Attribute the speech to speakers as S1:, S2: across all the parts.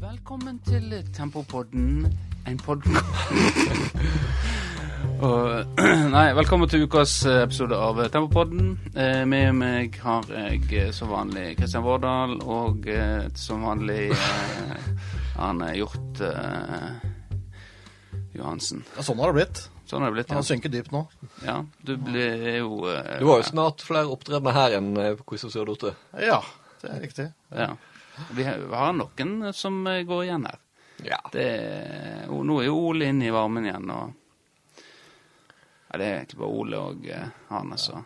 S1: Velkommen til Tempopodden, en podkast Nei, velkommen til ukas eh, episode av Tempopodden. Eh, Med meg har jeg eh, som vanlig Kristian Vårdal, og eh, som vanlig eh, Arne Hjort eh, Johansen.
S2: Ja, sånn har det blitt.
S1: Sånn har det blitt,
S2: Han
S1: ja.
S2: synker dypt nå.
S1: ja du blir jo eh,
S3: Du har jo snart flere opptredener her enn eh, på Quiz og Sørdote.
S2: Ja, det er riktig.
S1: ja. Vi har- vi har noen som eh, går igjen her.
S3: Ja.
S1: Det, og nå er jo Ole inne i varmen igjen, og ja, Det er egentlig bare Ole og eh, Arne, så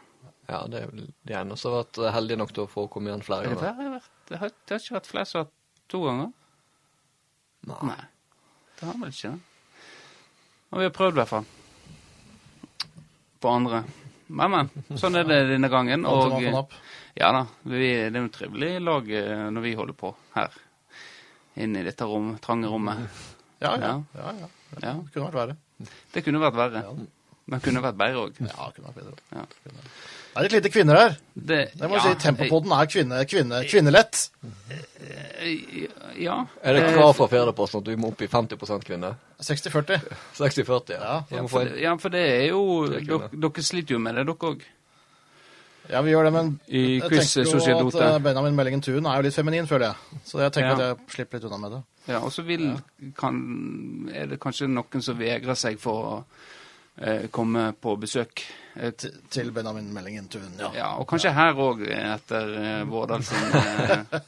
S3: ja, det er vel de ene som har vært heldige nok til å få komme igjen flere
S1: Det har,
S3: ganger.
S1: vært, det, har, det har ikke vært flere som har vært to ganger?
S3: Nei.
S1: Nei. Det har vel ikke det. Og vi har prøvd, i hvert fall. På andre. Men, men. Sånn er det denne gangen.
S2: Alt
S1: Og
S2: man kan opp.
S1: ja da, vi, det er jo trivelig lag eh, når vi holder på her. Inne i dette rom, trange rommet.
S2: Ja, ja.
S1: Ja.
S2: ja, ja.
S1: Ja,
S2: Det kunne vært verre.
S1: Det kunne vært verre.
S2: Ja.
S1: Men kunne vært bedre òg.
S2: Ja, det kunne vært bedre.
S1: Ja.
S2: Det er litt lite kvinner her.
S1: Det,
S2: Det må jeg si. Tempopodden er kvinne, kvinne, kvinnelett.
S1: Eh, Ja.
S3: Er det
S1: Eh,
S3: krav fra Ferdeposten at du må opp i 50 kvinner?
S2: 60-40.
S3: 60-40, ja.
S2: Ja,
S3: Du
S2: ja,
S3: må
S1: for
S3: få
S1: det- Ja, for det er jo
S3: Det er ikke
S1: dok- Dere sliter jo med det, dere òg.
S2: Ja, vi gjør det, men
S1: I
S2: jeg
S1: quiz
S2: tenker jo at eh,
S1: Sociedote.
S2: Benjamin Meldingen Thun er jo litt feminin, føler jeg. Så jeg tenker
S1: Ja.
S2: at jeg slipper litt unna med det.
S1: Ja, og så vil kan, Er det kanskje noen som vegrer seg for å eh, komme på besøk? Eh, t-
S2: Til- Til Benjamin Meldingen Thun, ja.
S1: ja, og kanskje her òg, etter eh, Vårdal sin eh,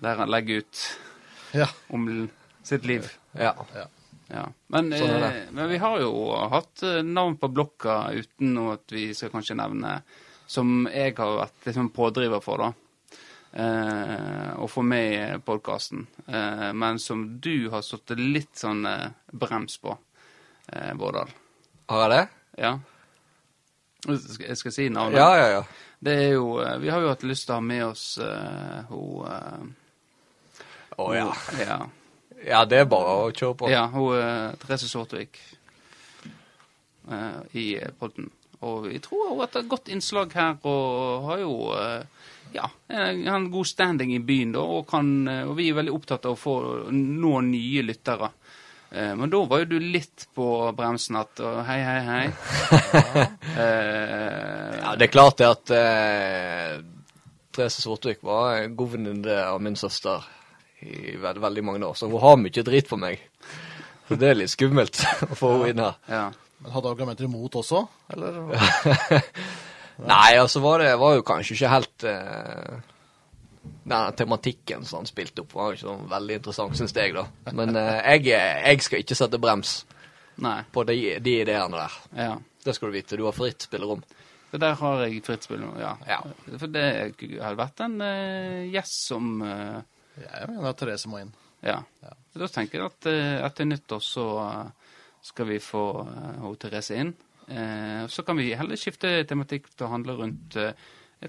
S1: Der han legger ut
S2: Ja,
S1: om l- sitt liv.
S3: Ja.
S1: Ja. Men,
S3: Sånn
S1: eh,
S3: er
S1: men vi har jo hatt eh, navn på blokka uten at vi skal kanskje nevne, som jeg har vært liksom pådriver for, da. Eh, å få med i podkasten. Eh, men som du har satt litt sånn eh, brems på, eh, Vårdal.
S3: Har jeg det?
S1: Ja. Jeg skal, jeg skal si navnet.
S3: Ja, ja, ja.
S1: Det er jo eh, Vi har jo hatt lyst til å ha med oss eh, hun eh,
S3: Å ja.
S1: hun- ja.
S3: Ja, det er bare å kjøre på.
S1: Ja, hun eh, Therese Sortevik eh, i podden. Og vi tror hun har hatt et godt innslag her, og har jo eh, ja, en, en god standing i byen, da. Og, kan, eh, og vi er veldig opptatt av å få nå nye lyttere. Eh, men da var jo du litt på bremsen at eh, hei, hei, hei. Eh,
S3: Ja, det er klart det at eh, Therese Sortvik var en god venninne av min søster i veld, veldig mange år, så hun har mye drit for meg. Så det er litt skummelt å få henne inn her.
S1: ja.
S2: Men hadde argumenter imot også? Eller?
S3: Nei, altså var det var jo kanskje ikke helt eh, Den tematikken som han spilte opp, var jo ikke sånn veldig interessant, syns jeg, da. Men eh, jeg, jeg skal ikke sette brems
S1: Nei.
S3: på de, de ideene der.
S1: Ja.
S3: Det skal du vite. Du har fritt spillerom.
S1: Så der har jeg fritt spill nå, ja.
S3: Ja.
S1: For det hadde vært en eh, gjest som eh,
S2: Jeg mener at Therese må inn.
S1: Ja. Så Da tenker jeg at eh, etter nyttår så eh, skal vi få eh, hun Therese inn. Eh, og så kan vi heller skifte tematikk til å handle rundt eh,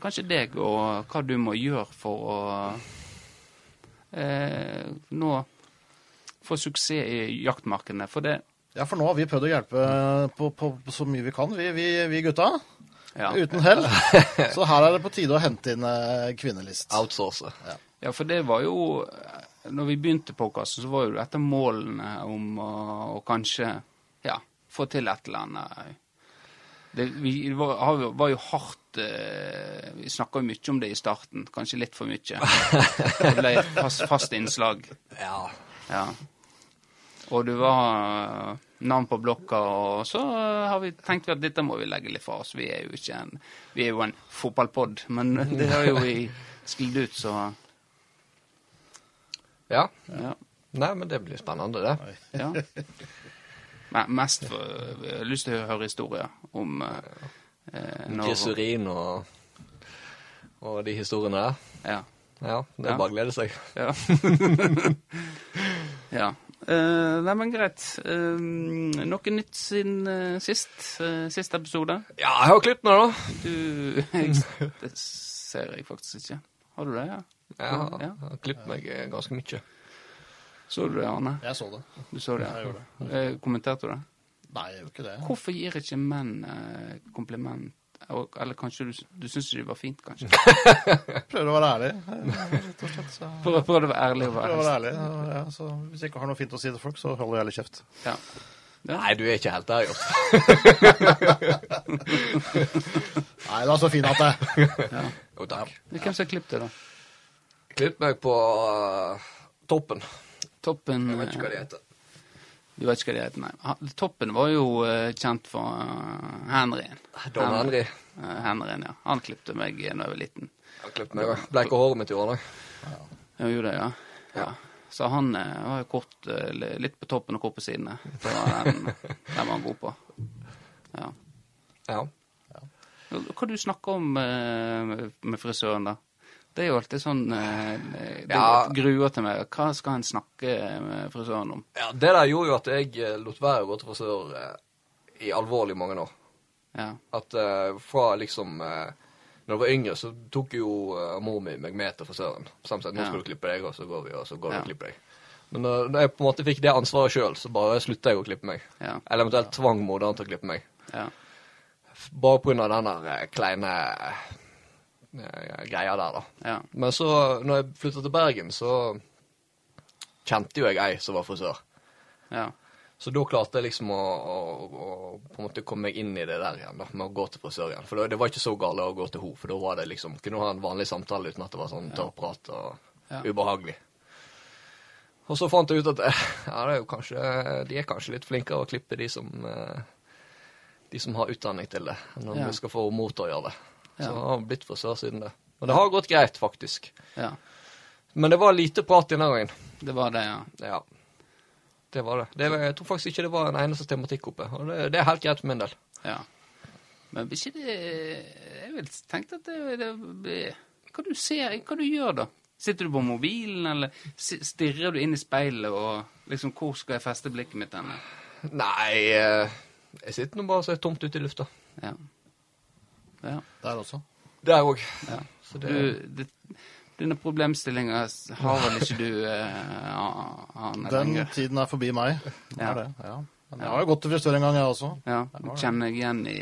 S1: kanskje deg og hva du må gjøre for å eh, nå få suksess i jaktmarkene. For det
S2: Ja, for nå har vi prøvd å hjelpe eh, på, på, på så mye vi kan, vi, vi, vi gutta.
S1: ja.
S2: Uten hell. Så her er det på tide å hente inn eh, kvinnelist.
S3: Outsource.
S1: ja, for det var jo eh, Når vi begynte podkasten, så var jo dette målene om å, å kanskje ja, få til et eller annet. Det, vi var, har jo- var jo hardt eh, Vi snakka mye om det i starten, kanskje litt for mye. Det ble et fast, fast innslag.
S3: Ja.
S1: Ja. Og du var eh, navn på blokka, og så eh, har vi tenkt at dette må vi legge litt fra oss. Vi er jo ikke en Vi er jo en fotballpod, men det har jo vi sklidd ut, så
S3: ja.
S1: ja.
S3: Nei, men det blir spennende, det.
S1: ja. Men mest for, jeg har lyst til å høre historier om eh, eh, når-
S3: Gisurin og, og de historiene der.
S1: Ja.
S3: Ja, det
S1: Ja.
S3: er bare å glede seg.
S1: Ja. ja. Eh, nei, men greit. Eh, noe nytt siden eh, sist? Uh, sist episode?
S3: Ja, jeg har klippene, da.
S1: Du jeg, Det ser jeg faktisk ikke. Har du det? ja?
S3: Jeg har,
S1: Ja.
S3: jeg har klippet meg eh, ganske mye.
S1: Så du det, Arne?
S2: Jeg så det.
S1: Du så det?
S2: Jeg gjorde
S1: Eh, kommenterte du det?
S2: Nei, jeg gjorde ikke det.
S1: Hvorfor gir ikke menn eh, kompliment Og, eller kanskje du, du syns ikke det var fint, kanskje.
S2: Prøver å være ærlig. Rett og slett. Så,
S1: Prøv, prøv å være ærlig og
S2: prøver
S1: være
S2: å være
S1: helst.
S2: ærlig. Ja, så hvis jeg ikke har noe fint å si til folk, så holder jeg heller kjeft.
S1: Ja.
S3: Nei, du er ikke helt der, Jops.
S2: Nei, det er så fin at det
S3: Jo, takk.
S1: Men Hvem som har klippet det, da?
S3: Klipp meg på eh, toppen.
S1: Toppen
S3: Jeg vet ikke hva
S1: eh,
S3: det heter.
S1: Du vet ikke hva det heter, nei. Han- Toppen var jo eh, kjent for eh, Henryen.
S3: Ah, Don Henry.
S1: Eh, Henryen, ja. Han klippte meg eh, da jeg var liten.
S3: Han klippet meg òg. Bleika håret mitt i år, da.
S1: Jeg gjorde det, ja. ja. Så han eh, var jo kort, eh, li- litt på toppen og kort på sidene. Det var Den, den var han god på. Ja.
S3: Ja.
S1: Hva du snakker om eh, med frisøren, da? Det er jo alltid sånn eh, Det
S3: Ja.
S1: gruer til meg. Hva skal en snakke eh, med frisøren om?
S3: ja. Det der gjorde jo at jeg eh, lot være å gå til frisør eh, i alvorlig mange år.
S1: Ja.
S3: At eh, fra liksom eh, Når jeg var yngre, så tok jo eh, mor mi meg med til frisøren. Samt sett, nå
S1: Ja.
S3: skal du klippe deg, og så går vi, og så går du
S1: Ja.
S3: og klipper deg. Men eh, da jeg på en måte fikk det ansvaret sjøl, så bare slutta jeg å klippe meg.
S1: Ja.
S3: Eller eventuelt tvang moderen til å klippe meg.
S1: ja.
S3: F- Bare på grunn av den der eh, kleine eh, greia der, da.
S1: ja.
S3: Men så, når jeg flytta til Bergen, så kjente jo jeg ei som var frisør.
S1: ja.
S3: Så da klarte jeg liksom å, å, å på en måte komme meg inn i det der igjen, da, med å gå til frisør igjen. For da, det var ikke så gale å gå til henne, for da var det liksom, kunne du ha en vanlig samtale uten at det var sånn tørrprat og
S1: Ja.
S3: ubehagelig. Og så fant jeg ut at eh, ja, det er jo kanskje, de er kanskje litt flinkere å klippe de som, eh, de som har utdanning til det, enn om
S1: Ja.
S3: du skal få mor til å gjøre det.
S1: Ja.
S3: Så jeg har blitt frisør siden det. Og det har gått greit, faktisk.
S1: ja.
S3: Men det var lite prat denne gangen.
S1: Det var det, ja.
S3: Ja. Det var det. det var, jeg tror faktisk ikke det var en eneste tematikk oppe. Og det, det er helt greit for min del.
S1: Ja. Men hvis ikke det Jeg vil tenke at det, det Hva du ser, hva du gjør da? Sitter du på mobilen, eller si- stirrer du inn i speilet og liksom Hvor skal jeg feste blikket mitt hen?
S3: Nei eh, Jeg sitter nå bare og ser tomt ut i lufta.
S1: Ja. ja.
S2: Der også.
S3: Der òg.
S1: Ja.
S3: Så det
S1: Du, det, denne problemstillinga har vel ikke du, eh, Arne
S2: Den
S1: lenger?
S2: tiden er forbi meg. Det
S1: Ja.
S2: er det. Ja. Men jeg har jo gått til frisør en gang, jeg også.
S1: Ja, du kjenner deg igjen i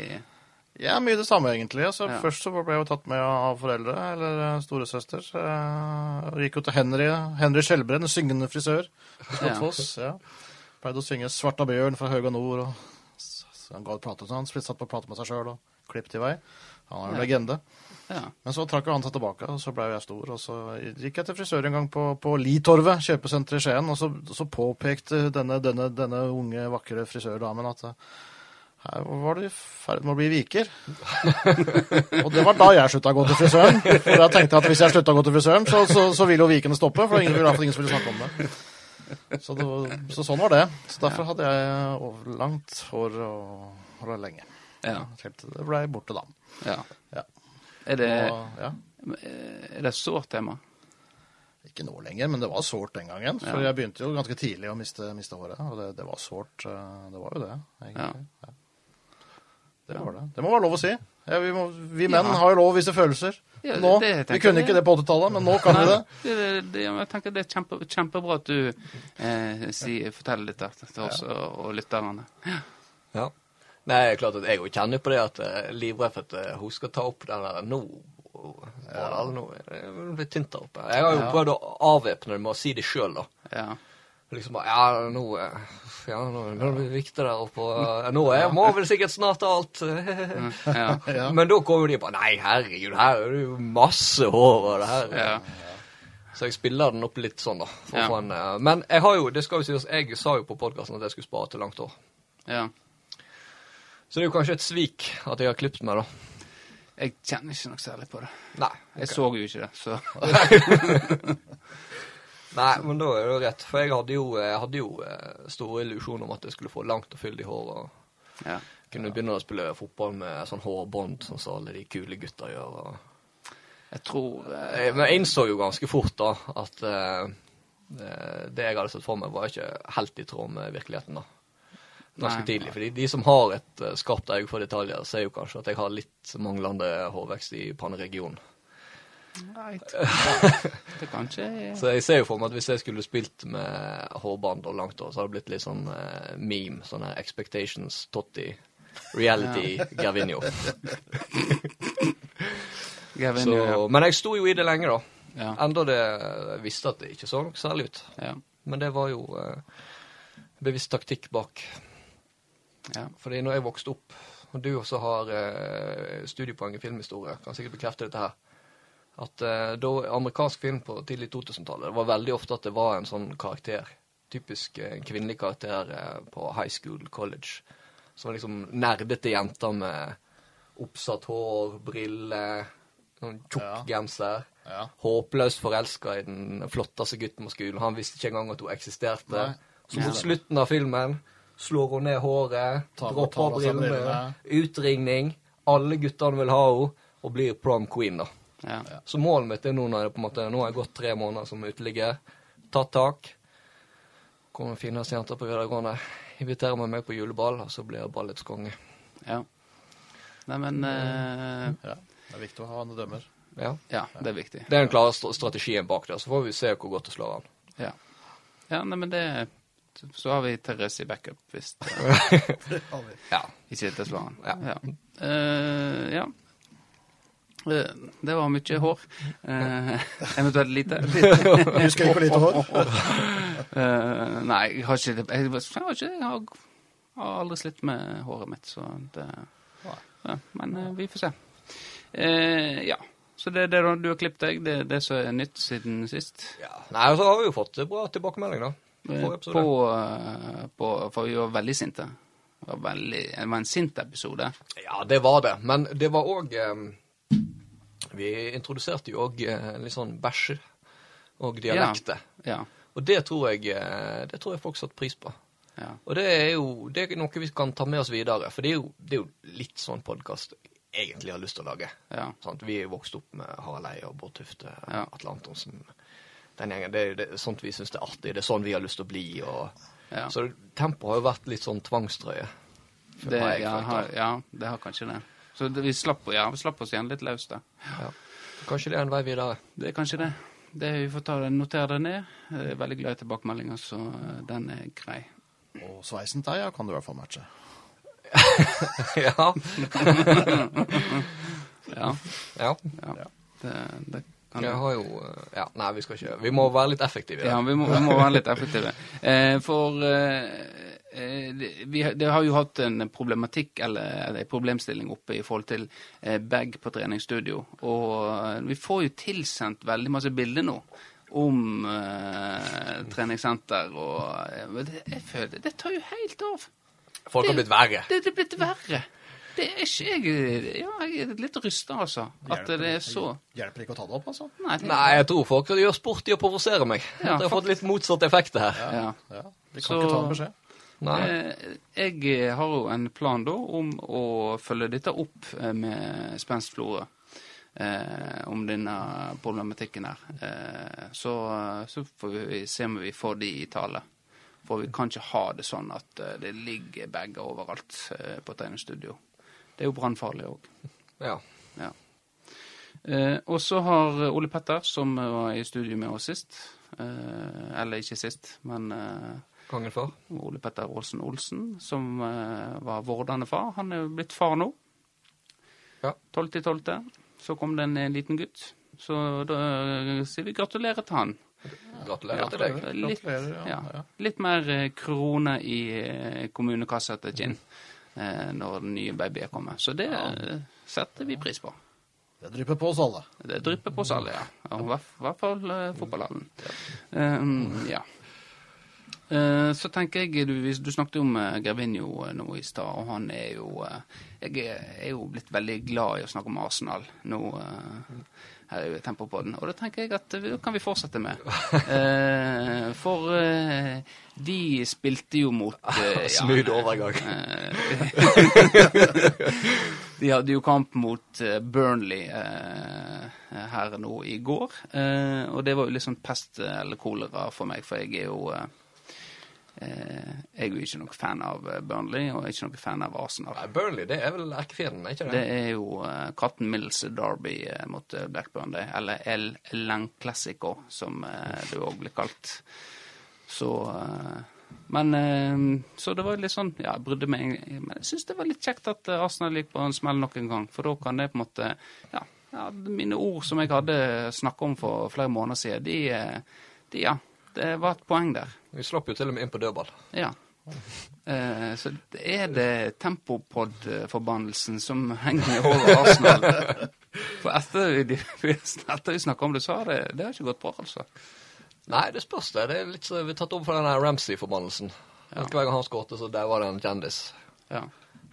S2: Jeg er mye det samme, egentlig. Altså,
S1: Ja.
S2: Først så ble jeg jo tatt med av foreldre, eller eh, storesøster. så jeg- Og gikk jo til Henry, Henry Skjelbred, en syngende frisør på
S1: Ja.
S2: Slottsfoss. Ja. Pleide å synge 'Svarta bjørn' fra Høga Nord. Og s- s- han ga ut plate, så han spil- satt på plate med seg sjøl og klippet i vei. Han er en legende.
S1: Ja.
S2: Men så trakk jo han seg tilbake, og så ble jeg stor. Og så gikk jeg til frisør en gang på, på Litorvet, kjøpesenteret i Skien, og så, så påpekte denne, denne, denne unge, vakre frisørdamen at eh, her var du i ferd med å bli viker. Og det var da jeg slutta å gå til frisøren. For jeg tenkte at hvis jeg slutta å gå til frisøren, så, så, så ville jo vikene stoppe. For ingen, i hvert fall ingen som ville snakke om det. Så, det var, så sånn var det. Så derfor hadde jeg over, langt hår og hår lenge.
S1: Ja.
S2: Helt til det blei borte, da.
S1: ja.
S2: Ja.
S1: Er det,
S2: Og, ja.
S1: er det et sårt tema?
S2: Ikke nå lenger, men det var sårt den gangen. For jeg begynte jo ganske tidlig å miste, miste håret. Og det, det var sårt. eh, Det var jo det, egentlig. Ja. Det var det. Det må være lov å si. Ja, vi, må, vi menn har jo lov å vise følelser.
S1: Ja,
S2: nå.
S1: det tenker
S2: vi kunne
S1: jeg.
S2: ikke det på 80-tallet, men nå kan vi det.
S1: Nei, det, det, det, jeg tenker det er kjempe, kjempebra at du eh, sier- forteller dette til oss og, og lytterne.
S3: Ja. Nei, det er klart at jeg òg kjenner på det at eh, livredd for at eh, hun skal ta opp den der nå. Ja. altså, Nå er det blitt tynt der oppe. Jeg har jo prøvd å avvæpne det med å si det sjøl, da.
S1: Ja.
S3: Liksom bare Ja, nå eh, ja, nå er det blir viktig der oppe. og, eh, Nå er, må vel sikkert snart ta alt.
S1: Mm, Ja.
S3: Men da kommer de bare Nei, herregud, her er det jo masse hår og det her.
S1: ja.
S3: Så jeg spiller den opp litt sånn, da. For
S1: Ja.
S3: å få en, eh, men jeg har jo, det skal jo sies, jeg sa jo på podkasten at jeg skulle spare til langt hår.
S1: ja.
S3: Så det er jo kanskje et svik at jeg har klippet meg, da.
S1: Jeg kjenner ikke noe særlig på det.
S3: Nei.
S1: Jeg så jo ikke det, så
S3: Nei, men da er det jo rett. For jeg hadde jo, jeg hadde jo eh, store illusjoner om at jeg skulle få langt og fyldig hår. og
S1: ja.
S3: kunne begynne å spille fotball med sånn hårbånd, sånn som alle de kule gutta gjør. og...
S1: Jeg tror eh,
S3: Eh, Men jeg innså jo ganske fort da at eh, eh, det jeg hadde sett for meg, var ikke helt i tråd med virkeligheten. da. Ganske
S1: Nei.
S3: tidlig. fordi de som har et eh, skarpt øye for detaljer, ser jo kanskje at jeg har litt manglende hårvekst i panneregionen.
S1: Nei, jeg tror det kan ikke
S3: Så jeg ser jo for meg at hvis jeg skulle spilt med hårbånd og langt hår, så hadde det blitt litt sånn eh, meme. Sånne expectations Totti. Reality Gervinho.
S1: Gavin,
S3: Så, men jeg sto jo i det lenge, da.
S1: ja. Ja.
S3: Enda det eh, visste at det ikke så noe særlig ut.
S1: Ja.
S3: Men det var jo eh, bevisst taktikk bak.
S1: Ja.
S3: Fordi når jeg vokste opp, og du også har eh, studiepoeng i filmhistorie, kan sikkert bekrefte dette her, at eh, da amerikansk film på tidlig 2000-tallet, det var veldig ofte at det var en sånn karakter, typisk eh, en kvinnelig karakter eh, på high school, college, som var liksom nerdete jenter med oppsatt hår, briller, sånn tjukk
S2: Ja.
S3: genser.
S2: Ja.
S3: Håpløst forelska i den flotteste gutten på skolen. Han visste ikke engang at hun eksisterte.
S2: Nei.
S3: Så mot slutten av filmen slår hun ned håret,
S2: Ta-
S3: dropper
S2: tar
S3: av
S2: av seg
S3: brillene,
S2: brillene.
S3: utringning. Alle guttene vil ha henne, og blir prom queen, da.
S1: Ja.
S3: Så målet mitt er nå når jeg på en måte, nå har jeg gått tre måneder som uteligger, tatt tak. Kommer og finner oss jenter på videregående, inviterer meg med på juleball, og så blir jeg ballets konge.
S1: ja. Nei, men eh,
S2: ja. Det er viktig å ha en dømmer.
S3: Ja.
S1: Ja, det er viktig.
S3: Det er den klare st- strategien bak det. Så får vi se hvor godt det slår an.
S1: Ja. ja, nei, men det Så har vi Therese i backup, hvis det
S3: Ja.
S1: Ikke til svaren.
S3: Ja.
S1: Ja. Eh, ja. Eh, det var mye hår. Eh, eventuelt lite.
S2: Jeg husker ikke hvor lite hår.
S1: Eh, nei, jeg har ikke det Jeg, har ikke, jeg har, har aldri slitt med håret mitt, så det ja, Men eh, vi får se. Eh, ja. Så det er det du- du har klippet deg, det er det som er nytt siden sist?
S3: ja. Nei, og så har vi jo fått eh, bra tilbakemelding, da.
S1: Eh,
S3: Forrige episode.
S1: På, eh, på For vi var veldig sinte. Det var, veldig, det var en sint episode.
S3: Ja, det var det. Men det var òg eh, Vi introduserte jo òg eh, litt sånn bæsjer og dialekter.
S1: Ja.
S3: Og det tror jeg eh, det tror jeg folk satte pris på.
S1: ja.
S3: Og det er jo det er noe vi kan ta med oss videre. For det er jo, det er jo litt sånn podkast jeg egentlig har lyst til å lage.
S1: ja.
S3: Sant? Vi er jo vokst opp med Harald Eia, Bård Tufte,
S1: Ja.
S3: Atle Antonsen. Den gjengen, det, er jo det er sånt vi syns er artig. Det er sånn vi har lyst til å bli. Og,
S1: ja.
S3: Så tempoet har jo vært litt sånn tvangstrøye.
S1: Det,
S3: har jeg
S1: ja,
S3: følt, da.
S1: har, ja, det har kanskje det. Så det, vi, slapp, ja, vi slapp oss igjen litt løs, da.
S3: Ja. Kanskje det er en vei videre.
S1: Det er kanskje det. det vi får ta det, notere det ned. Jeg er veldig glad i tilbakemeldinger, så eh, den er grei.
S2: Og sveisen til deg ja, kan du i hvert fall matche.
S3: ja.
S1: Ja,
S3: ja.
S1: ja. Det, det kan
S3: Jeg har jo eh, Ja, nei, vi skal ikke Vi må være litt effektive. i
S1: Ja,
S3: det.
S1: vi må, vi må være litt effektive. Eh, for eh, eh, det- vi har- det har jo hatt en problematikk eller, eller en problemstilling oppe i forhold til eh, bag på treningsstudio. Og eh, vi får jo tilsendt veldig masse bilder nå om eh, treningssenter og eh, men det, Jeg føler Det tar jo helt av.
S3: Folk har blitt verre.
S1: Det det er blitt verre. Det er ikke jeg Ja, jeg er litt rysta, altså. At det er så
S2: Hjelper ikke å ta det opp, altså?
S1: Nei. det-
S3: Nei, jeg tror folk gjør sport i å provosere meg.
S1: Ja,
S3: At jeg har fått litt motsatt effekt her.
S1: Ja.
S2: Ja, Vi kan
S1: Så-
S2: ikke ta en beskjed.
S3: Nei.
S1: Eh, Jeg har jo en plan da om å følge dette opp eh, med Spenst Florø. Eh, om denne problematikken her. Eh, så, så får vi se om vi får de i tale. For vi kan ikke ha det sånn at eh, det ligger bager overalt eh, på treningsstudio. Det er jo brannfarlig òg.
S3: Ja.
S1: Ja. Eh, og så har Ole Petter, som var i studio med oss sist, eh, eller ikke sist, men eh,
S3: Kongen for.
S1: Ole Petter Aalsen Olsen, som eh, var vordende far. Han er jo blitt far nå.
S3: Ja.
S1: 12.12. Så kom det en eh, liten gutt. Så da eh, sier vi gratulerer til han.
S3: Gratulerer til deg.
S1: Litt,
S2: Gratulerer, ja,
S1: ja,
S2: ja.
S1: litt mer eh, kroner i eh, kommunekassa til Gin eh, når den nye babyen kommer. Så det eh, setter vi pris på.
S2: Det drypper på oss alle.
S1: Det drypper på oss alle, ja. Og I hvert- hvert fall eh, fotballhallen. Ehm, ja. Eh, Så tenker jeg, du, hvis du snakket om eh, Gervinho eh, nå i stad, og han er jo eh, Jeg er- er jo blitt veldig glad i å snakke om Arsenal nå eh, her i Tempopodden, og da tenker jeg at eh, da kan vi fortsette med. Eh, For eh, de spilte jo mot eh, ja,
S3: Smooth overgang.
S1: Eh, De hadde jo kamp mot eh, Burnley eh, her nå i går, eh, og det var jo litt sånn pest eller kolera for meg, for jeg er jo eh, eh, Jeg er jo ikke noen fan av eh, Burnley, og jeg er ikke noen fan av Arsenal.
S3: Nei, Burnley, det er vel erkefienden, er ikke
S1: Det
S3: det?
S1: er jo eh, katten Mills Derby eh, mot eh, Blackburn, det. Eller El Lang Classico, som eh, det òg blir kalt. Så eh, Men eh, Så det var litt sånn Ja, jeg brydde meg egentlig- Men jeg syns det var litt kjekt at eh, Arsenal gikk på en smell nok en gang, for da kan det på en måte Ja, ja mine ord som jeg hadde snakket om for flere måneder siden, de, eh, de Ja, det var et poeng der.
S3: Vi slapp jo til og med inn på dødball.
S1: Ja. Eh, så det er det Tempopod-forbannelsen som henger over Arsenal. For etter vi, etter vi snakka om det, så har det, det har ikke gått bra, altså.
S3: Nei, det spørs det. Det er litt så Vi har tatt over for den der Ramsey-forbannelsen.
S1: Ja.
S3: Hver gang han skårte, så der var det en kjendis.
S1: Ja.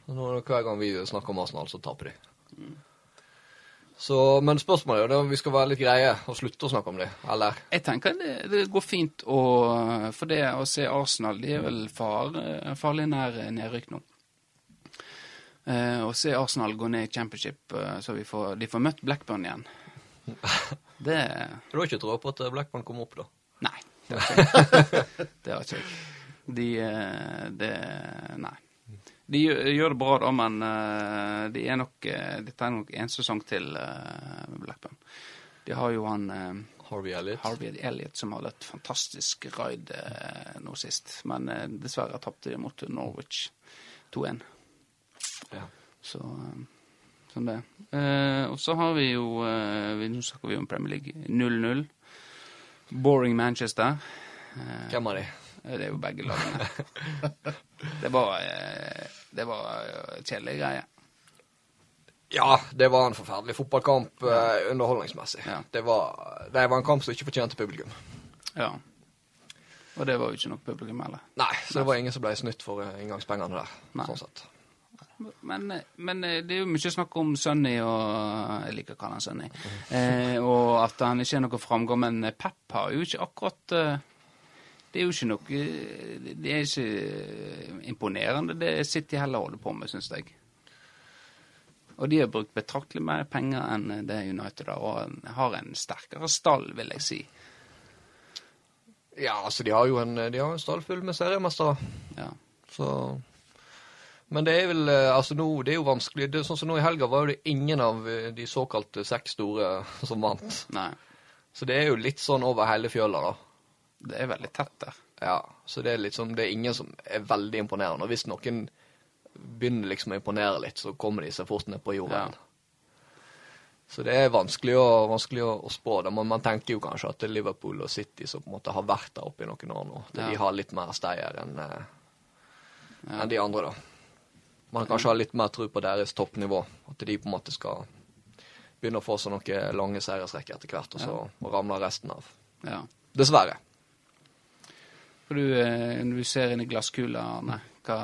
S3: Og Nå, er det hver gang vi snakker om Arsenal, så taper de.
S1: Mm.
S3: Så, men spørsmålet er jo da om vi skal være litt greie og slutte å snakke om det, eller?
S1: Jeg tenker det, det går fint å For det å se Arsenal, de er vel far, farlig nær nedrykk nå. Eh, å se Arsenal gå ned i championship, eh, så vi får, de får møtt Blackburn igjen, det
S3: Du har ikke tro på at Blackman kommer opp, da?
S1: Nei. Det har ikke jeg. Det har ikke jeg. De eh, det, Nei. De gjør gjør det bra, da, men eh, de er nok eh, Dette er nok en sesong til eh, med Blackburn. De har jo han eh,
S3: Harvey Elliot?
S1: Harvey Elliot som hadde et fantastisk raid eh, nå sist. Men eh, dessverre tapte de mot Norwich 2-1.
S3: Ja.
S1: Så eh, sånn det. Eh, og så har vi jo eh, vi, Nå snakker vi om Premier League. 0-0. Boring Manchester. Eh,
S3: Hvem av de?
S1: det er jo begge lagene. det var, eh, det var eh, kjedelige greier.
S3: Ja, det var en forferdelig fotballkamp eh, underholdningsmessig.
S1: Ja.
S3: Det, var, det var en kamp som ikke fortjente publikum.
S1: Ja. Og det var jo ikke nok publikum heller.
S3: Nei, så det var ingen som ble snytt for eh, inngangspengene der.
S1: Nei.
S3: sånn sett.
S1: Men, men eh, det er jo mye snakk om Sunny og Jeg liker å kalle han Sunny. Eh, og at han ikke er noe framgang. Men Pep har jo ikke akkurat eh, Det er jo ikke noe eh, Det er ikke eh, imponerende det City heller holder på med, syns jeg. Og de har brukt betraktelig mer penger enn det United har, og har en sterkere stall, vil jeg si.
S3: Ja, altså, de har jo en, de har en stall full med seriemestere,
S1: Ja.
S3: så Men det er vel eh, Altså, nå, det er jo vanskelig. Det, er sånn som nå i helga var jo det ingen av eh, de såkalte seks store eh, som vant.
S1: Nei,
S3: Så det er jo litt sånn over hele fjøla, da.
S1: det er veldig tett der.
S3: Ja, så det er litt sånn, det er ingen som er veldig imponerende. Og hvis noen begynner liksom å imponere litt, så kommer de seg fort ned på jorden.
S1: Ja.
S3: Så det er vanskelig, å, vanskelig å, å spå det, men man tenker jo kanskje at det er Liverpool og City som på en måte har vært der oppe i noen år nå, at
S1: Ja.
S3: de har litt mer steier enn eh,
S1: Ja.
S3: enn de andre, da. Man kanskje har litt mer tro på deres toppnivå, at de på en måte skal begynne å få seg noen lange seiersrekker etter hvert, og så ramler resten av.
S1: Ja.
S3: Dessverre.
S1: For du, eh, når du ser inn i glasskula, Arne, hva,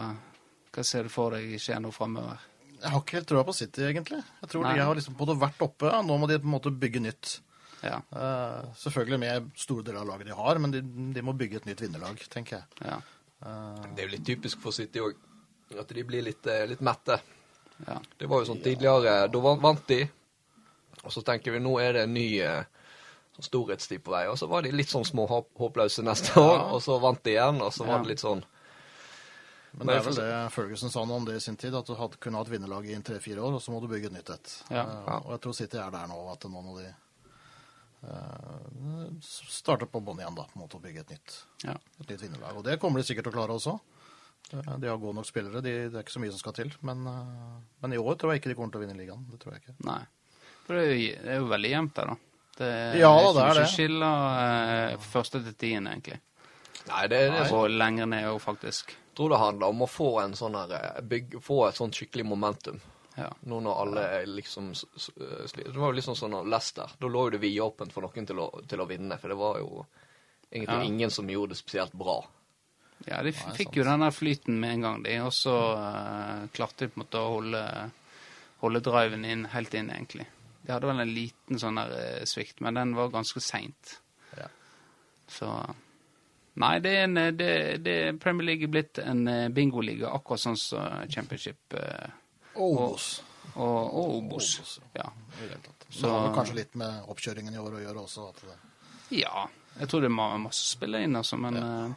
S1: hva ser du for deg skjer nå framover?
S2: Jeg har ikke helt trua på City, egentlig. Jeg tror
S1: Nei.
S2: de har liksom både vært oppe, og nå må de på en måte bygge nytt.
S1: Ja,
S2: Eh, selvfølgelig med store deler av laget de har, men de, de må bygge et nytt vinnerlag, tenker jeg.
S1: ja,
S2: Eh,
S3: Det er jo litt typisk for City òg, at de blir litt, eh, litt mette.
S1: ja.
S3: Det var jo sånn tidligere, da vant, vant de, og så tenker vi nå er det en ny eh, sånn storhetstid på vei, og så var de litt sånn små håp- håpløse neste år, og så vant de igjen, og så
S1: Ja.
S3: var det litt sånn
S2: men det er vel det Ferguson sa noe om det i sin tid, at du hadde, kunne ha et vinnerlag i tre-fire år, og så må du bygge et nytt et.
S1: Ja.
S2: Eh, og jeg tror City er der nå, at nå må de eh, starte på bånn igjen, da, på en måte, og bygge et nytt,
S1: ja.
S2: et nytt vinnerlag. Og det kommer de sikkert til å klare også. Eh, De har gode nok spillere, de, det er ikke så mye som skal til. Men, eh, men i år tror jeg ikke de kommer til å vinne ligaen. Det tror jeg ikke.
S1: Nei. For det er jo, det er jo veldig jevnt der, da. Det,
S2: Ja, det er
S1: ikke mye
S2: det.
S1: som skiller eh, første til tiende, egentlig.
S3: Nei, det, det er sånn.
S1: Og lenger ned òg, faktisk.
S3: Jeg tror det handler om å få en sånn her eh, bygg, Få et sånt skikkelig momentum.
S1: Ja.
S3: Nå når alle er liksom s- s- eh, sli- Det var jo liksom sånn av Leicester. Da lå jo det vidåpent for noen til å, til å vinne, for det var jo egentlig
S1: Ja.
S3: ingen som gjorde det spesielt bra.
S1: Ja, de f
S2: Nei, sant.
S1: fikk jo den der flyten med en gang, de. Og så eh, klarte de på en måte å holde, holde driven inn helt inn, egentlig. De hadde vel en liten sånn der eh, svikt, men den var ganske seint.
S2: Ja.
S1: Så Nei, det er en, eh, det, det Premier League er blitt en eh, bingoliga, akkurat sånn som eh, Championship eh,
S2: Obos.
S1: og, og Obos.
S2: Obos,
S1: Ja.
S2: i det hele tatt. Så
S1: Så-
S2: det har vel kanskje litt med oppkjøringen i år å gjøre også. At det,
S1: ja. Jeg tror det er ma- masse spillere inn, altså, men eh,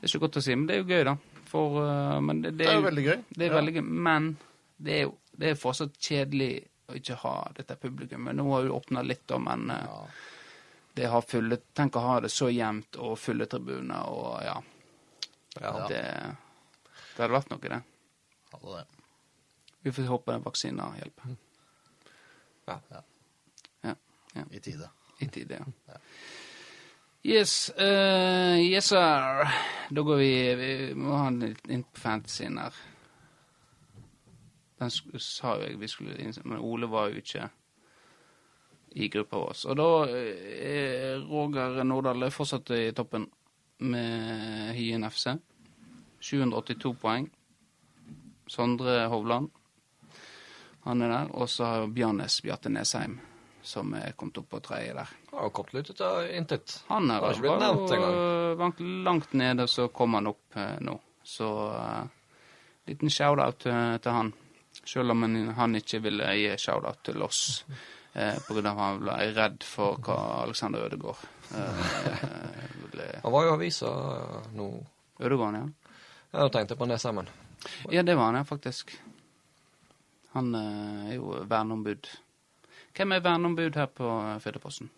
S1: Det er ikke godt å si, men det er jo gøy, da. For, eh, men det, det,
S2: det er jo veldig gøy.
S1: Det er veldig gøy, men det er jo det er fortsatt kjedelig å ikke ha dette publikummet. Nå har vi åpna litt, da, men eh,
S2: Ja.
S1: det har fulle Tenk å ha det så jevnt og fulle tribuner og ja.
S2: Ja.
S1: Det, det hadde vært noe, det.
S2: Hadde det.
S1: Vi får håpe vaksiner hjelper.
S2: I tide.
S1: Ikke ideer. Yes, eh, yes sir. Da går vi Vi må ha den litt inn på fantasyen her. Den sk- sa jo jeg vi skulle inn, men Ole var jo ikke i gruppa vår. Og da eh, er Roger Nordahl er fortsatt i toppen med Hyen FC. 782 poeng. Sondre Hovland, han er der. Og så har jo Bjarnes Bjarte Nesheim, som er kommet opp på tredje der.
S3: Han har jo kommet litt ut av intet.
S1: Han er,
S3: Det har ikke blitt nevnt
S1: var jo,
S3: engang.
S1: øh, langt- langt nede, så kom han opp eh, nå. Så eh, liten shout-out til, til han. Selv om han, han ikke ville gi shout-out til oss eh, pga. at han ble redd for hva Alexander Ødegaard eh, ville
S3: Han var jo i avisa eh, nå.
S1: Ødegaard, ja.
S3: Ja, nå tenkte jeg på Nesheimen.
S1: Ja, det var han, ja, faktisk. Han eh, er jo verneombud. Hvem er verneombud her på eh, Firdaposten?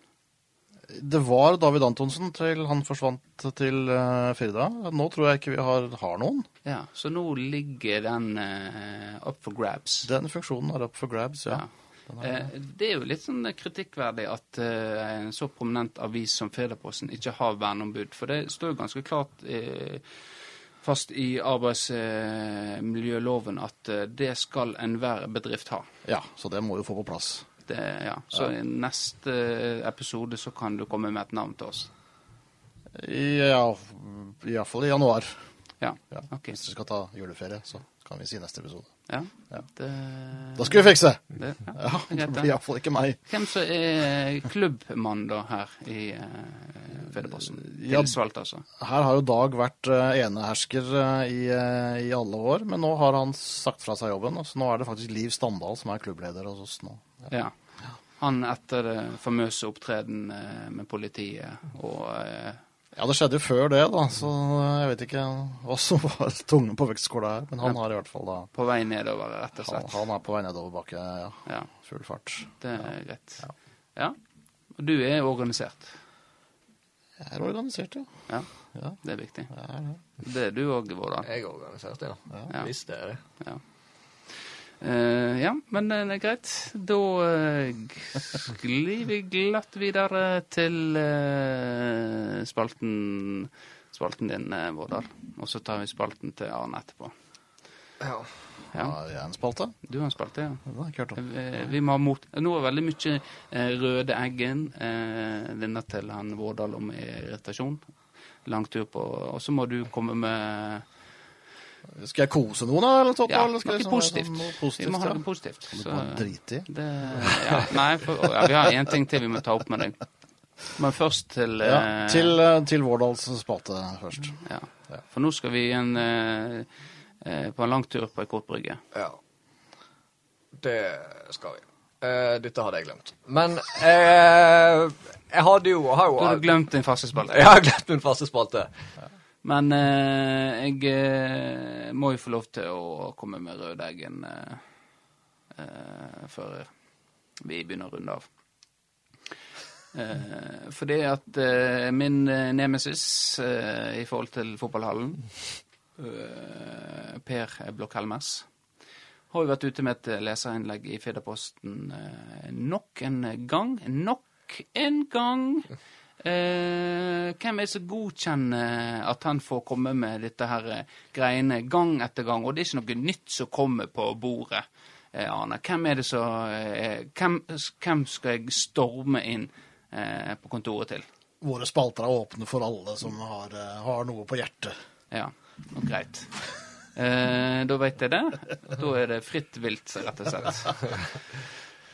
S2: Det var David Antonsen til han forsvant til eh, Firda. Nå tror jeg ikke vi har, har noen.
S1: Ja, så nå ligger den eh, up for grabs.
S2: Den funksjonen er up for grabs, ja.
S1: Ja. Eh, det er jo litt sånn kritikkverdig at eh, en så prominent avis som Federposten ikke har verneombud, for det står jo ganske klart eh, fast i arbeidsmiljøloven eh, miljøloven at eh, det skal enhver bedrift ha.
S2: Ja, så det må jo få på plass.
S1: Det, ja. Så i neste episode så kan du komme med et navn til oss.
S2: Ja, iallfall i januar.
S1: Ja,
S2: Ja.
S1: ok.
S2: Hvis dere skal ta juleferie, så kan vi si neste episode.
S1: Ja.
S2: Ja.
S1: Det,
S2: Da skal vi fikse!
S1: det, ja.
S2: Ja, Det
S1: greit,
S2: blir
S1: det.
S2: iallfall ikke meg.
S1: Hvem som er klubbmann da her i eh, Federposten?
S2: Ja.
S1: Tilsvalgt, altså.
S2: Her har jo Dag vært eh, enehersker eh, i, eh, i alle år, men nå har han sagt fra seg jobben. og Så nå er det faktisk Liv Standal som er klubbleder hos oss nå.
S1: Ja. Han etter det famøse opptreden eh, med politiet og eh,
S2: Ja, det skjedde jo før det, da, så eh, jeg vet ikke hva som var tungen på vektskåla her. Men han har i hvert fall da
S1: på vei nedover, rett og
S2: Han,
S1: slett.
S2: han er på vei nedoverbakke, ja.
S1: Ja,
S2: Full fart.
S1: det er greit.
S2: Ja.
S1: Ja. Og du er organisert.
S2: Jeg er organisert, ja.
S1: Ja,
S2: Ja.
S1: det er viktig.
S2: Jeg er det.
S1: Det er du òg, Vårdal.
S3: Jeg organiserte, ja.
S1: Ja.
S3: Visst er det.
S1: Ja. Eh, ja, men eh, det er greit. Da eh, g- sklir vi glatt videre til eh, spalten, spalten din, eh, Vårdal. Og så tar vi spalten til Arne etterpå.
S3: Ja.
S2: Ja,
S1: Ja,
S2: jeg er en spalte.
S1: du har en spalte, ja.
S2: Det har jeg ikke hørt om.
S1: Eh, Vi må ha mot... Nå er veldig mye eh, Røde Eggen, eh, denne til han Vårdal om irritasjon. Lang tur på Og så må du komme med
S2: Skal jeg kose noen, da? Eller, Totto,
S1: Ja,
S2: eller skal
S1: noe
S2: jeg sånn-
S1: positivt. Vi
S2: Noe
S1: må
S2: positivt
S1: ha
S2: ja.
S1: noe positivt.
S2: Kan du
S1: Så
S2: bare drite i?
S1: det ja, Nei, for, å, ja, vi har én ting til vi må ta opp med deg. Men først til
S2: Ja,
S1: eh,
S2: til, eh, til Vårdals spalte først.
S1: ja. For nå skal vi igjen eh, eh, på en lang tur på ei kortbrygge.
S3: ja. Det skal vi. Eh, dette hadde jeg glemt. Men eh, jeg hadde jo, har jo
S1: Du har glemt din faste spalte.
S3: Jeg har glemt min faste spalte.
S1: Men eh, jeg eh, må jo få lov til å komme med rødeggen eh, eh, før vi begynner å runde av. Eh, fordi at eh, min eh, nemesis eh, i forhold til fotballhallen, eh, Per Blokk Helmes, har jo vært ute med et leserinnlegg i Firdaposten eh, nok en gang. Nok en gang! Eh, hvem er det som godkjenner at han får komme med dette her eh, greiene gang etter gang? Og det er ikke noe nytt som kommer på bordet, eh, Arne. Hvem er det som eh, hvem, hvem skal jeg storme inn eh, på kontoret til?
S2: Våre spalter er åpne for alle som har, eh, har noe på hjertet.
S1: Ja, og greit. Eh, da vet jeg det. Da er det fritt vilt, rett og slett.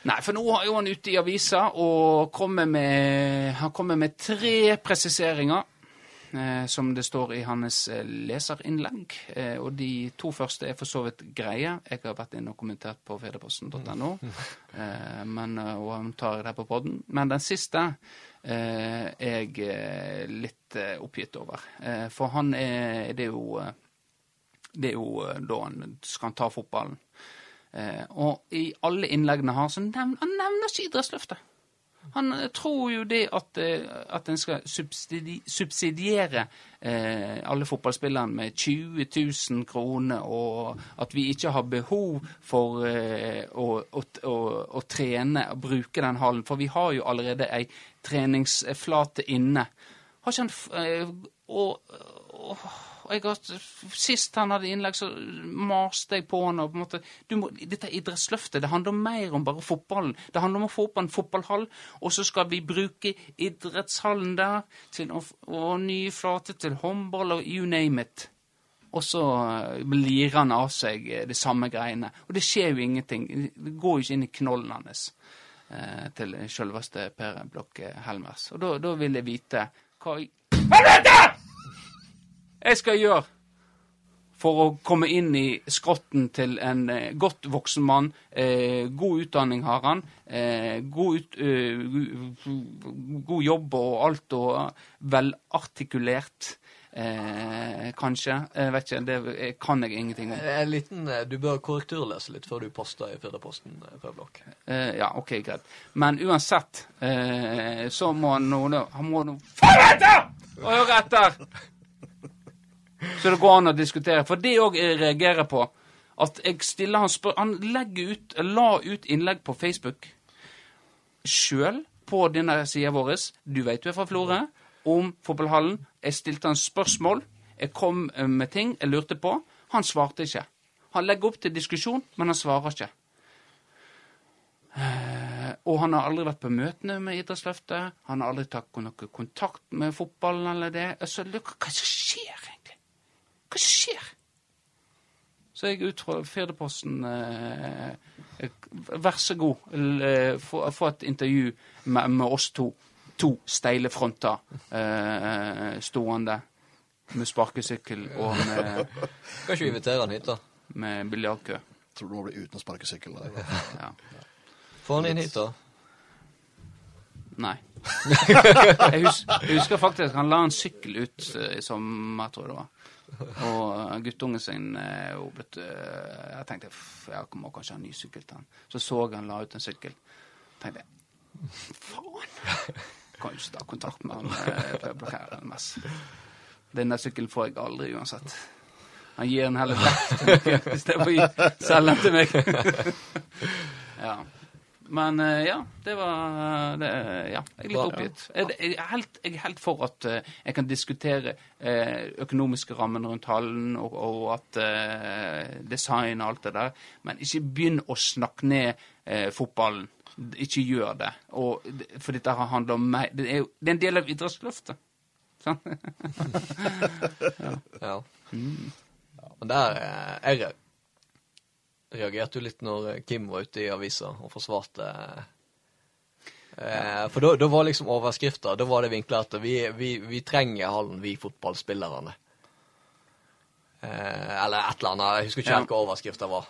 S1: Nei, for nå er jo han ute i avisa og kommer med, han kommer med tre presiseringer. Eh, som det står i hans eh, leserinnlegg. Eh, og de to første er for så vidt greie. Jeg har vært inne og kommentert på fedreposten.no, eh, men, eh, og han tar det her på podden. Men den siste eh, er jeg eh, litt eh, oppgitt over. Eh, for han er Det er jo eh, det er jo eh, da han skal ta fotballen. Eh, og i alle innleggene han har, så nevner han nevner ikke Idrettsløftet. Han eh, tror jo det at, eh, at en skal subsidi subsidiere eh, alle fotballspillerne med 20 000 kroner, og at vi ikke har behov for eh, å, å, å, å trene og bruke den hallen, for vi har jo allerede ei treningsflate inne. Har ikke han f eh, og, og, og jeg har, Sist han hadde innlegg, så maste jeg på han. og på en måte, du må, Dette idrettsløftet det handler mer om bare fotballen. Det handler om å få opp en fotballhall, og så skal vi bruke idrettshallen der til å, f- og nye flater til håndball og you name it. Og så eh, lirer han av seg eh, det samme greiene. Og det skjer jo ingenting. Det går jo ikke inn i knollen hans eh, til selveste Per Blokk eh, Helmers. Og da, da vil jeg vite hva i Helvete! Jeg skal gjøre for å komme inn i skrotten til en eh, godt voksen mann. Eh, god utdanning har han. Eh, god, ut, eh, gu- god jobb og alt, og velartikulert. Eh, kanskje. Jeg vet ikke, det eh, kan jeg ingenting om.
S3: En liten, eh, Du bør korrekturlese litt før du poster i Firdaposten, eh, Per Blokk.
S1: Eh, ja, OK, greit. Men uansett eh, så må han nå nå- Han må nå Helvete! Og høre etter! Så det går an å diskutere. For det òg jeg reagerer på. At jeg stiller han spør... Han legger ut, la ut innlegg på Facebook sjøl på denne sida vår, du vet du er fra Florø, om fotballhallen. Jeg stilte han spørsmål. Jeg kom eh, med ting jeg lurte på. Han svarte ikke. Han legger opp til diskusjon, men han svarer ikke. Eh, Og han har aldri vært på møtene med Idrettsløftet. Han har aldri tatt noe kontakt med fotballen eller det. Altså, hva hva er det som skjer egentlig? Hva er det som skjer? Så jeg ut fra Firdeposten eh, eh, Vær så god, l- eh, få, få et intervju med, med oss to. To steile fronter eh, stående med sparkesykkel og med,
S3: Kan ikke vi invitere han hit, da?
S1: med biljardkø.
S4: Tror du må bli uten sparkesykkel. der.
S1: Ja.
S3: Få han inn hit, da.
S1: Nei. jeg, hus jeg husker faktisk han la en sykkel ut eh, i sommer, tror jeg det var. Og eh, guttungen sin eh, hun ble, eh, Jeg tenkte "Pff, jeg må kanskje ha en ny sykkel til han. Så så jeg han la ut en sykkel. tenkte jeg faen! Kan jo ikke ta kontakt med han eh, på blokkeren mest. Denne sykkelen får jeg aldri uansett. Han gir den heller vekk til meg, i stedet for å gi- selge den til meg. ja. Men eh, ja, det var eh, det, Ja, jeg er litt
S3: Bra.
S1: oppgitt. Jeg, jeg, er helt, jeg er helt for at eh, jeg kan diskutere eh, økonomiske rammen rundt hallen, og, og at eh, design og alt det der, men ikke begynn å snakke ned eh, fotballen. Ikke gjør det. Og, det- for dette her handler om meg. Det er, jo, det er en del av idrettsløftet. Sant?
S3: Ja. Men der eh, Jeg re- reagerte jo litt når eh, Kim var ute i avisa og forsvarte eh, eh, For da- da var liksom overskrifta Da var det vinkla at vi, vi, vi trenger hallen, vi fotballspillerne. Eh, eller et eller annet. Jeg husker ikke
S1: Ja.
S3: helt hva overskrifta var.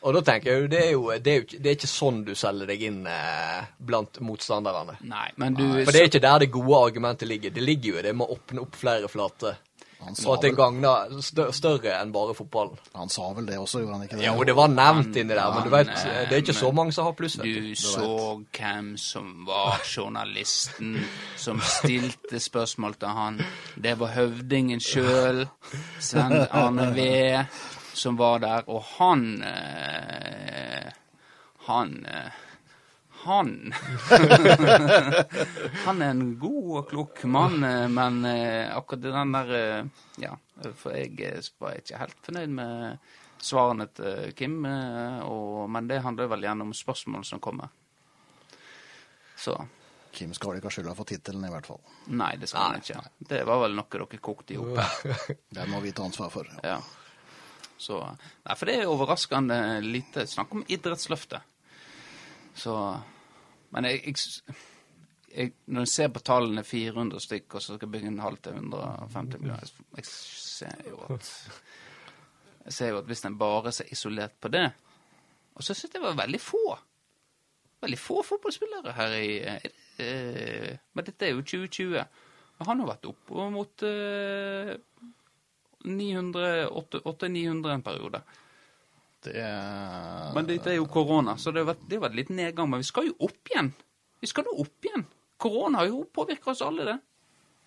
S3: Og da tenker jeg jo det er jo, det er jo ikke, det er ikke sånn du selger deg inn eh, blant motstanderne.
S1: Nei, men du
S3: For det er ikke der det gode argumentet ligger. Det ligger jo i det med å åpne opp flere flater.
S4: Han
S3: Så
S4: sa,
S3: at det
S4: vel,
S3: gagner stø- større enn bare fotballen.
S4: han sa vel det også, gjorde han ikke det?
S3: Jo, det var nevnt inni der, men du vet,
S1: Nei,
S3: det er ikke så
S1: men-
S3: mange som har pluss. vet du.
S1: Du så hvem som var journalisten som stilte spørsmål til han. Det var høvdingen sjøl, Sven Arne Ve, som var der. Og han eh, Han eh, han Han er en god og klok mann, eh, men eh, akkurat den der eh, Ja, for jeg eh, var ikke helt fornøyd med svarene til Kim, eh, og, men det handler vel gjerne om spørsmål som kommer. Så
S4: Kim skal vel ikke ha skylda for tittelen, i hvert fall.
S1: Nei, det skal han ikke. Det var vel noe dere kokte i hop.
S4: Den må vi ta ansvar for. Ja.
S1: Ja. Så, nei, for det er overraskende lite snakk om idrettsløftet. Så Men jeg, jeg, s- jeg Når jeg ser på tallene 400 stykk, og så skal jeg bygge en halv til 150 millioner jeg, s- jeg ser jo at Jeg ser jo at hvis en bare ser isolert på det Og så syns jeg det var veldig få. Veldig få fotballspillere her i eh, eh, Men dette er jo 2020. Og han har vært opp mot eh, 900, 800-900 en periode.
S2: Det er
S1: Men dette er jo korona, så det har vært, det har vært litt nedgang. Men vi skal jo opp igjen. Vi skal nå opp igjen. Korona har jo påvirka oss alle, det.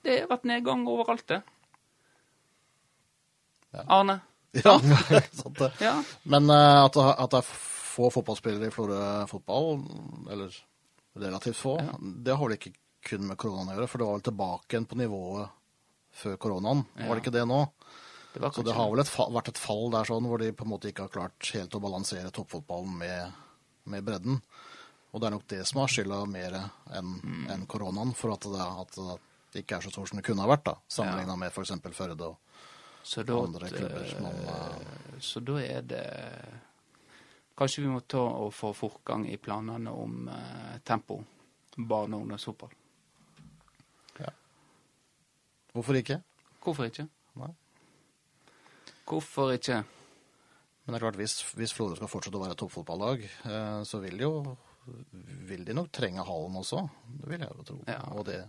S1: Det har vært nedgang overalt, det. Arne?
S2: Ja, sant det.
S1: Ja.
S4: Men eh, at, det, har- at det er få fotballspillere i Florø fotball, eller relativt få, det har vel ikke kun med koronaen å gjøre, for det var vel tilbake igjen på nivået før koronaen. Var det ikke det nå?
S1: Det var
S4: Så det har vel et fall, vært et fall der sånn, hvor de på en måte ikke har klart helt å balansere toppfotballen med, med bredden. Og det er nok det som har skylda mer enn
S2: Mm.
S4: enn koronaen, for at det, at det ikke er så stort som det kunne ha vært, da, sammenligna med f.eks. Førde og
S1: Så da,
S4: andre klubber. Man, eh,
S1: så da er det Kanskje vi må ta og få fortgang i planene om eh, tempo. Barne- og ungdomsfotball.
S4: hvorfor ikke?
S1: Hvorfor ikke?
S4: Nei.
S1: Hvorfor ikke?
S4: Men det er klart, hvis, hvis Florø skal fortsette å være et toppfotballag, eh, så vil de jo vil de nok trenge hallen også. Det vil jeg jo tro.
S1: Ja.
S4: Og, det,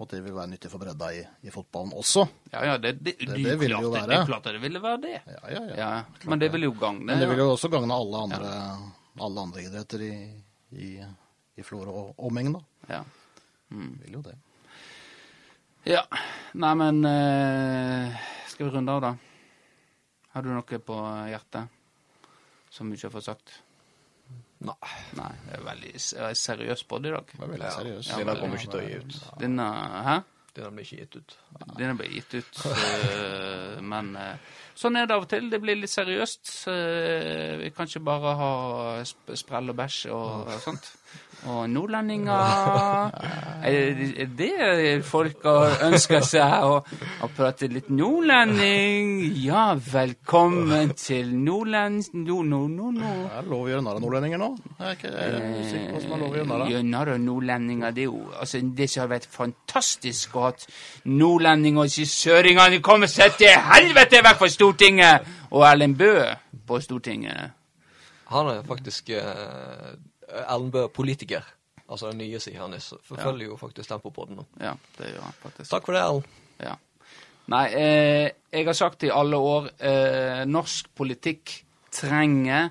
S4: og det vil være nyttig for bredda i, i fotballen også.
S1: Ja ja, det, det, det,
S4: det
S1: er
S4: ville
S1: klart
S4: jo
S1: det,
S4: være.
S1: det er klart at det ville være det.
S4: Ja, ja, ja.
S1: Ja, Men det vil jo gagne.
S4: Men det vil
S1: ja.
S4: jo også gagne alle andre, alle andre idretter i, i, i Florø og omegn, da.
S1: Ja.
S4: Vil jo det.
S1: ja. Nei, men eh, Skal vi runde av, da? Har du noe på hjertet som du ikke har fått sagt?
S3: Nei.
S1: Nei, det er veldig s- jeg er seriøs på det i dag.
S4: Det er veldig seriøst.
S3: Ja, Denne kommer ikke til å gi ut.
S1: Denne Hæ?
S3: Denne blir ikke gitt ut.
S1: Denne ble gitt ut, øh, men øh, sånn er det av og til. Det blir litt seriøst. øh, Vi kan ikke bare ha sp sprell og bæsj og, og sånt. Og nordlendinger er det- er Det folk har ønsker seg å, å prate litt nordlending. Ja, velkommen til nordlend... No, no, no, no.
S2: Er det lov å gjøre narr av nordlendinger nå? Jeg er ikke jeg er
S1: Eh,
S2: usikker på hva som er lov å gjøre narr av.
S4: Eh,
S1: Jønner og nordlendinger, det er jo altså, det som har vært fantastisk å ha nordlendinger og ikke søringene kommer seg til helvete vekk fra Stortinget! Og Erlend Bø på Stortinget.
S3: Han er faktisk eh, Erlend Bøe politiker. Altså den nye sida hans. Forfølger jo faktisk Tempopodden nå.
S1: Ja, det gjør han faktisk.
S3: Takk for det, Erlend.
S1: Ja. Nei, eh, jeg har sagt i alle år eh, norsk politikk trenger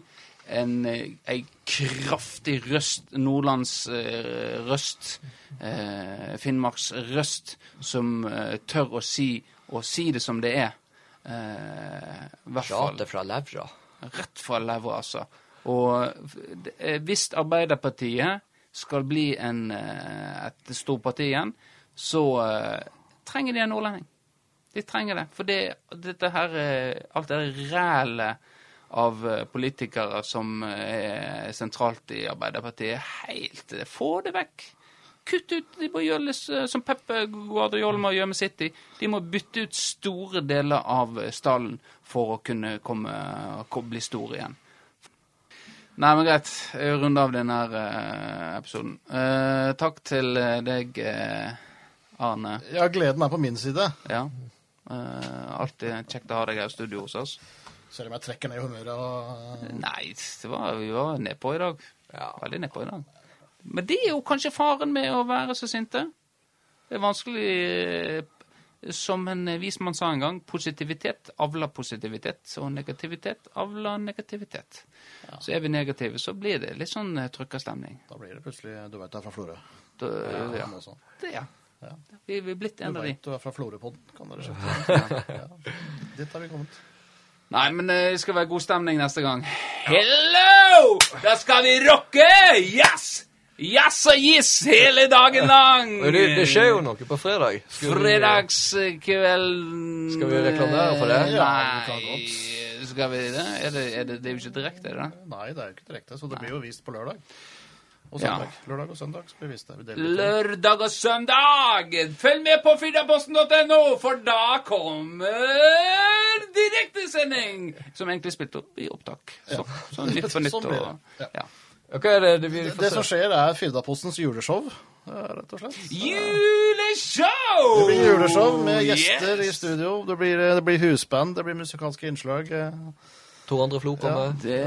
S1: en, eh, ei kraftig røst, nordlands eh, røst, eh, Finnmarks røst, som eh, tør å si, og si det som det er. Eh, i hvert fall
S3: Prater fra levra.
S1: rett fra levra, altså. Og eh, hvis Arbeiderpartiet skal bli en, eh, et stort parti igjen, så eh, trenger de en nordlending. De trenger det. For det, dette her, eh, alt det her rælet av eh, politikere som eh, er sentralt i Arbeiderpartiet, er helt eh, Få det vekk! Kutt ut de må gjøres eh, som Peppe Guardiola og Gjøme City. De må bytte ut store deler av eh, stallen for å kunne komme, ko- bli store igjen. Nei, men greit. Jeg runder av denne her, eh, episoden. Eh, takk til eh, deg, eh, Arne.
S2: Ja, gleden er på min side.
S1: Ja. Eh, alltid kjekt å ha deg her i studio hos oss.
S2: Selv om jeg trekker ned humøret og
S1: Nei, det var, vi var nedpå i dag.
S3: Ja.
S1: Veldig nedpå i dag. Men det er jo kanskje faren med å være så sinte. Det er vanskelig eh, Som en vis mann sa en gang, positivitet avler positivitet, og negativitet avler negativitet. Så er vi negative, så blir det litt sånn eh, trykkerstemning.
S2: Da blir det plutselig Du veit du er fra Florø.
S1: Da, ja.
S2: Han også.
S1: Det, ja. Vi vi er blitt
S2: Du
S1: en av de.
S2: veit du er fra Florøpodden, kan dere skjønne. Ja. Dit har vi kommet.
S1: Nei, men eh, det skal være god stemning neste gang. Hello! Da skal vi rocke! Yes! Yes og yes hele dagen lang!
S3: Men Det, det skjer jo noe på fredag. Skal vi-
S1: Fredagskvelden
S3: Skal vi reklamere for det?
S2: Ja, vi kan
S1: Nei, skal vi det? Er det, er det, det er jo ikke direkte, er det?
S2: Nei, det er jo ikke direkte, så det blir jo vist på lørdag. Og
S1: Ja.
S2: søndag. Lørdag og søndag så blir vist det. Vi deler ut det.
S1: Lørdag og søndag! Følg med på firdaposten.no, for da kommer direktesending! Som egentlig er spilt opp i opptak. Så, så nytt for nytt.
S2: Sånn blir det.
S1: Og, ja.
S3: Hva er det, det vi
S2: Det
S3: får
S2: som
S3: se?
S2: skjer, er Firdapostens juleshow, eh, rett og slett.
S1: Juleshow!
S2: Det blir juleshow med gjester
S1: Yes!
S2: i studio. Det blir, eh, det blir husband, det blir musikalske innslag. eh.
S3: To andre flo kommer. med.
S1: Det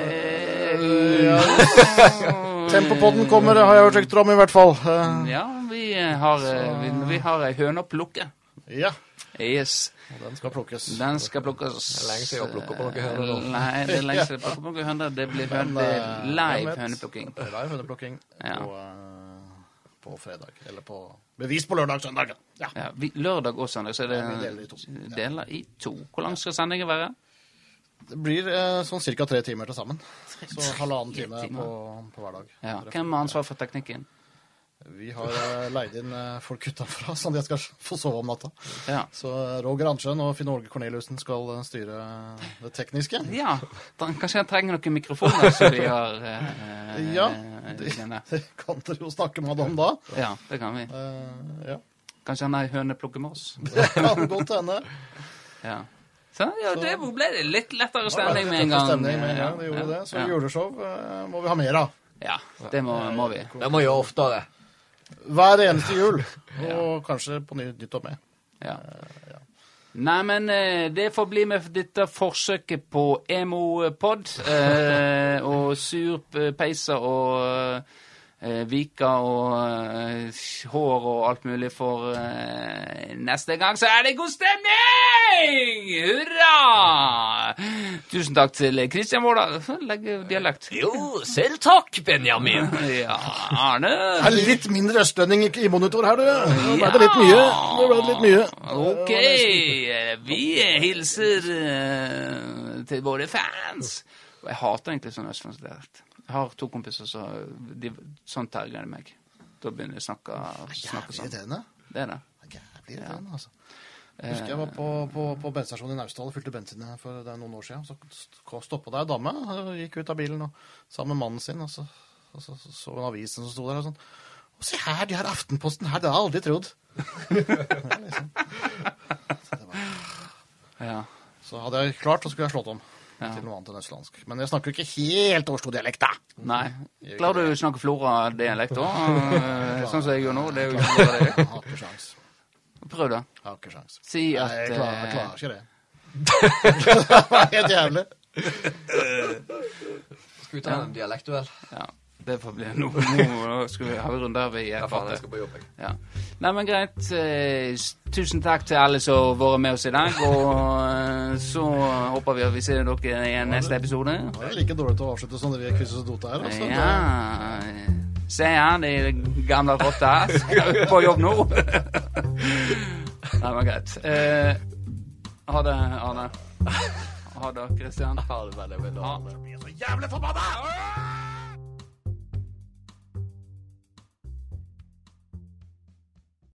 S2: Mm. Tempopodden kommer, har jeg hørt rykter om i hvert fall. Eh,
S1: Ja, vi eh, har, eh, vi, vi har ei høne å plukke.
S2: Ja,
S1: Yes.
S2: og den skal plukkes.
S1: Den skal plukkes.
S3: Det er lenge siden jeg har plukket på noen høner nå.
S1: Nei, det er lenge siden jeg har plukket på noen høner. Det blir høne,
S2: Men,
S1: det
S2: eh,
S1: er live
S2: hvem vet?
S1: høneplukking.
S2: Det er live høneplukking
S1: Ja.
S2: på, eh, på fredag. Eller på Bevis på lørdag, søndag. Ja.
S1: Ja, vi, lørdag og søndag, så er det
S2: Ja, vi deler i to. Ja.
S1: deler i to. Hvor lang skal sendingen være?
S2: Det blir eh, sånn ca. tre timer til sammen. Så halvannen time
S1: timer.
S2: på, på hver dag.
S1: Ja. Hvem har ansvar for teknikken?
S2: Vi har eh, leid inn eh, folk utenfra, sånn at jeg skal få sove om natta.
S1: Ja.
S2: Så eh, Roger Arntzen og Finn Åge Corneliussen skal eh, styre det tekniske.
S1: ja da- kanskje han trenger noen mikrofoner som vi har eh,
S2: Ja,
S1: eh,
S2: det-
S1: liggende.
S2: Det kan dere jo snakke med dem da.
S1: ja, det kan vi.
S2: Eh, ja.
S1: Kanskje han er i høneplukker med oss.
S2: Det kan godt hende.
S1: Ja. Så, ja,
S2: Så-
S1: det ble det litt lettere
S2: Det var
S1: stemning med
S2: litt
S1: en gang.
S2: Stemning med en gang. Det
S1: Ja, ja,
S2: gjorde det. Så
S1: ja.
S2: juleshow eh, må vi ha mer av.
S1: Ja, det må, må vi.
S3: Det må jeg gjøre oftere.
S2: Hver eneste jul.
S1: Ja.
S2: Og kanskje på ny, nytt og med.
S1: Ja. Nei, men eh, det får bli med dette forsøket på emo-pod. Eh, og sur eh, peiser og eh, viker og eh, hår og alt mulig for eh, neste gang. Så er det god stemning! Hurra! Tusen takk til Kristian Vårdal. Legger dialekt.
S3: Jo, selv takk, Benjamin.
S1: Ja, Arne.
S2: Det er litt mindre østlending i- i monitor her, du. Det ble det litt mye.
S1: Ja.
S2: Det ble det litt mye.
S1: Ok, eh, vi hilser eh, til våre fans. Og jeg hater egentlig sånn østlandsdialekt. Jeg har to kompiser som de, sånn terger de meg. Da begynner jeg å snakke,
S2: Ah,
S1: snakke
S2: Jævlig
S1: sånn.
S2: irriterende.
S1: Det er det.
S2: Det er Jævlig irriterende, altså. Jeg husker jeg var på, på, på bensinstasjonen i Naustdal og fylte bensin her for det er noen år siden. Så stoppa det ei dame, og gikk ut av bilen og, sammen med mannen sin, og så, og så, så, så hun avisen som sto der, og sånn. Og se her, de her Aftenposten her, det har jeg aldri trodd. Ja, liksom. så, det var,
S1: Ja.
S2: så hadde jeg klart, så skulle jeg slått om
S1: Ja.
S2: til noe annet enn østlandsk. Men jeg snakker jo ikke helt Oslo-dialekt, da.
S1: Nei. Klarer du å snakke Flora-dialekt da? Eh, Sånn som jeg gjør nå. Det er jo ikke bare det.
S2: Jeg har ikke sjans.
S1: Prøv, da.
S2: Jeg har ikke sjans.
S1: Si
S2: Nei,
S1: at
S2: jeg klarer, jeg
S1: eh,
S2: klarer ikke det. det var helt jævlig.
S3: Skal vi ta en dialektuell?
S1: Ja, det får bli nå. Nå skal vi ha en runde her vi eh,
S3: Ja, faen,
S1: prater.
S3: jeg skal på jobb, jeg.
S1: Ja. Nei, men greit. Eh, s- tusen takk til alle som har vært med oss i dag. Og eh, så håper vi at vi ser dere igjen neste episode.
S2: Det er like dårlig til å avslutte som det vi krysses og dota her. Altså.
S1: Ja. Se her, de gamle rotta. Skal vi på jobb nå? Nei, men greit. Eh, ha det, Arne. Ha det, Kristian.
S3: Ha det veldig, veldig.
S1: Ha
S3: bra.
S2: Det er så jævlig forbanna!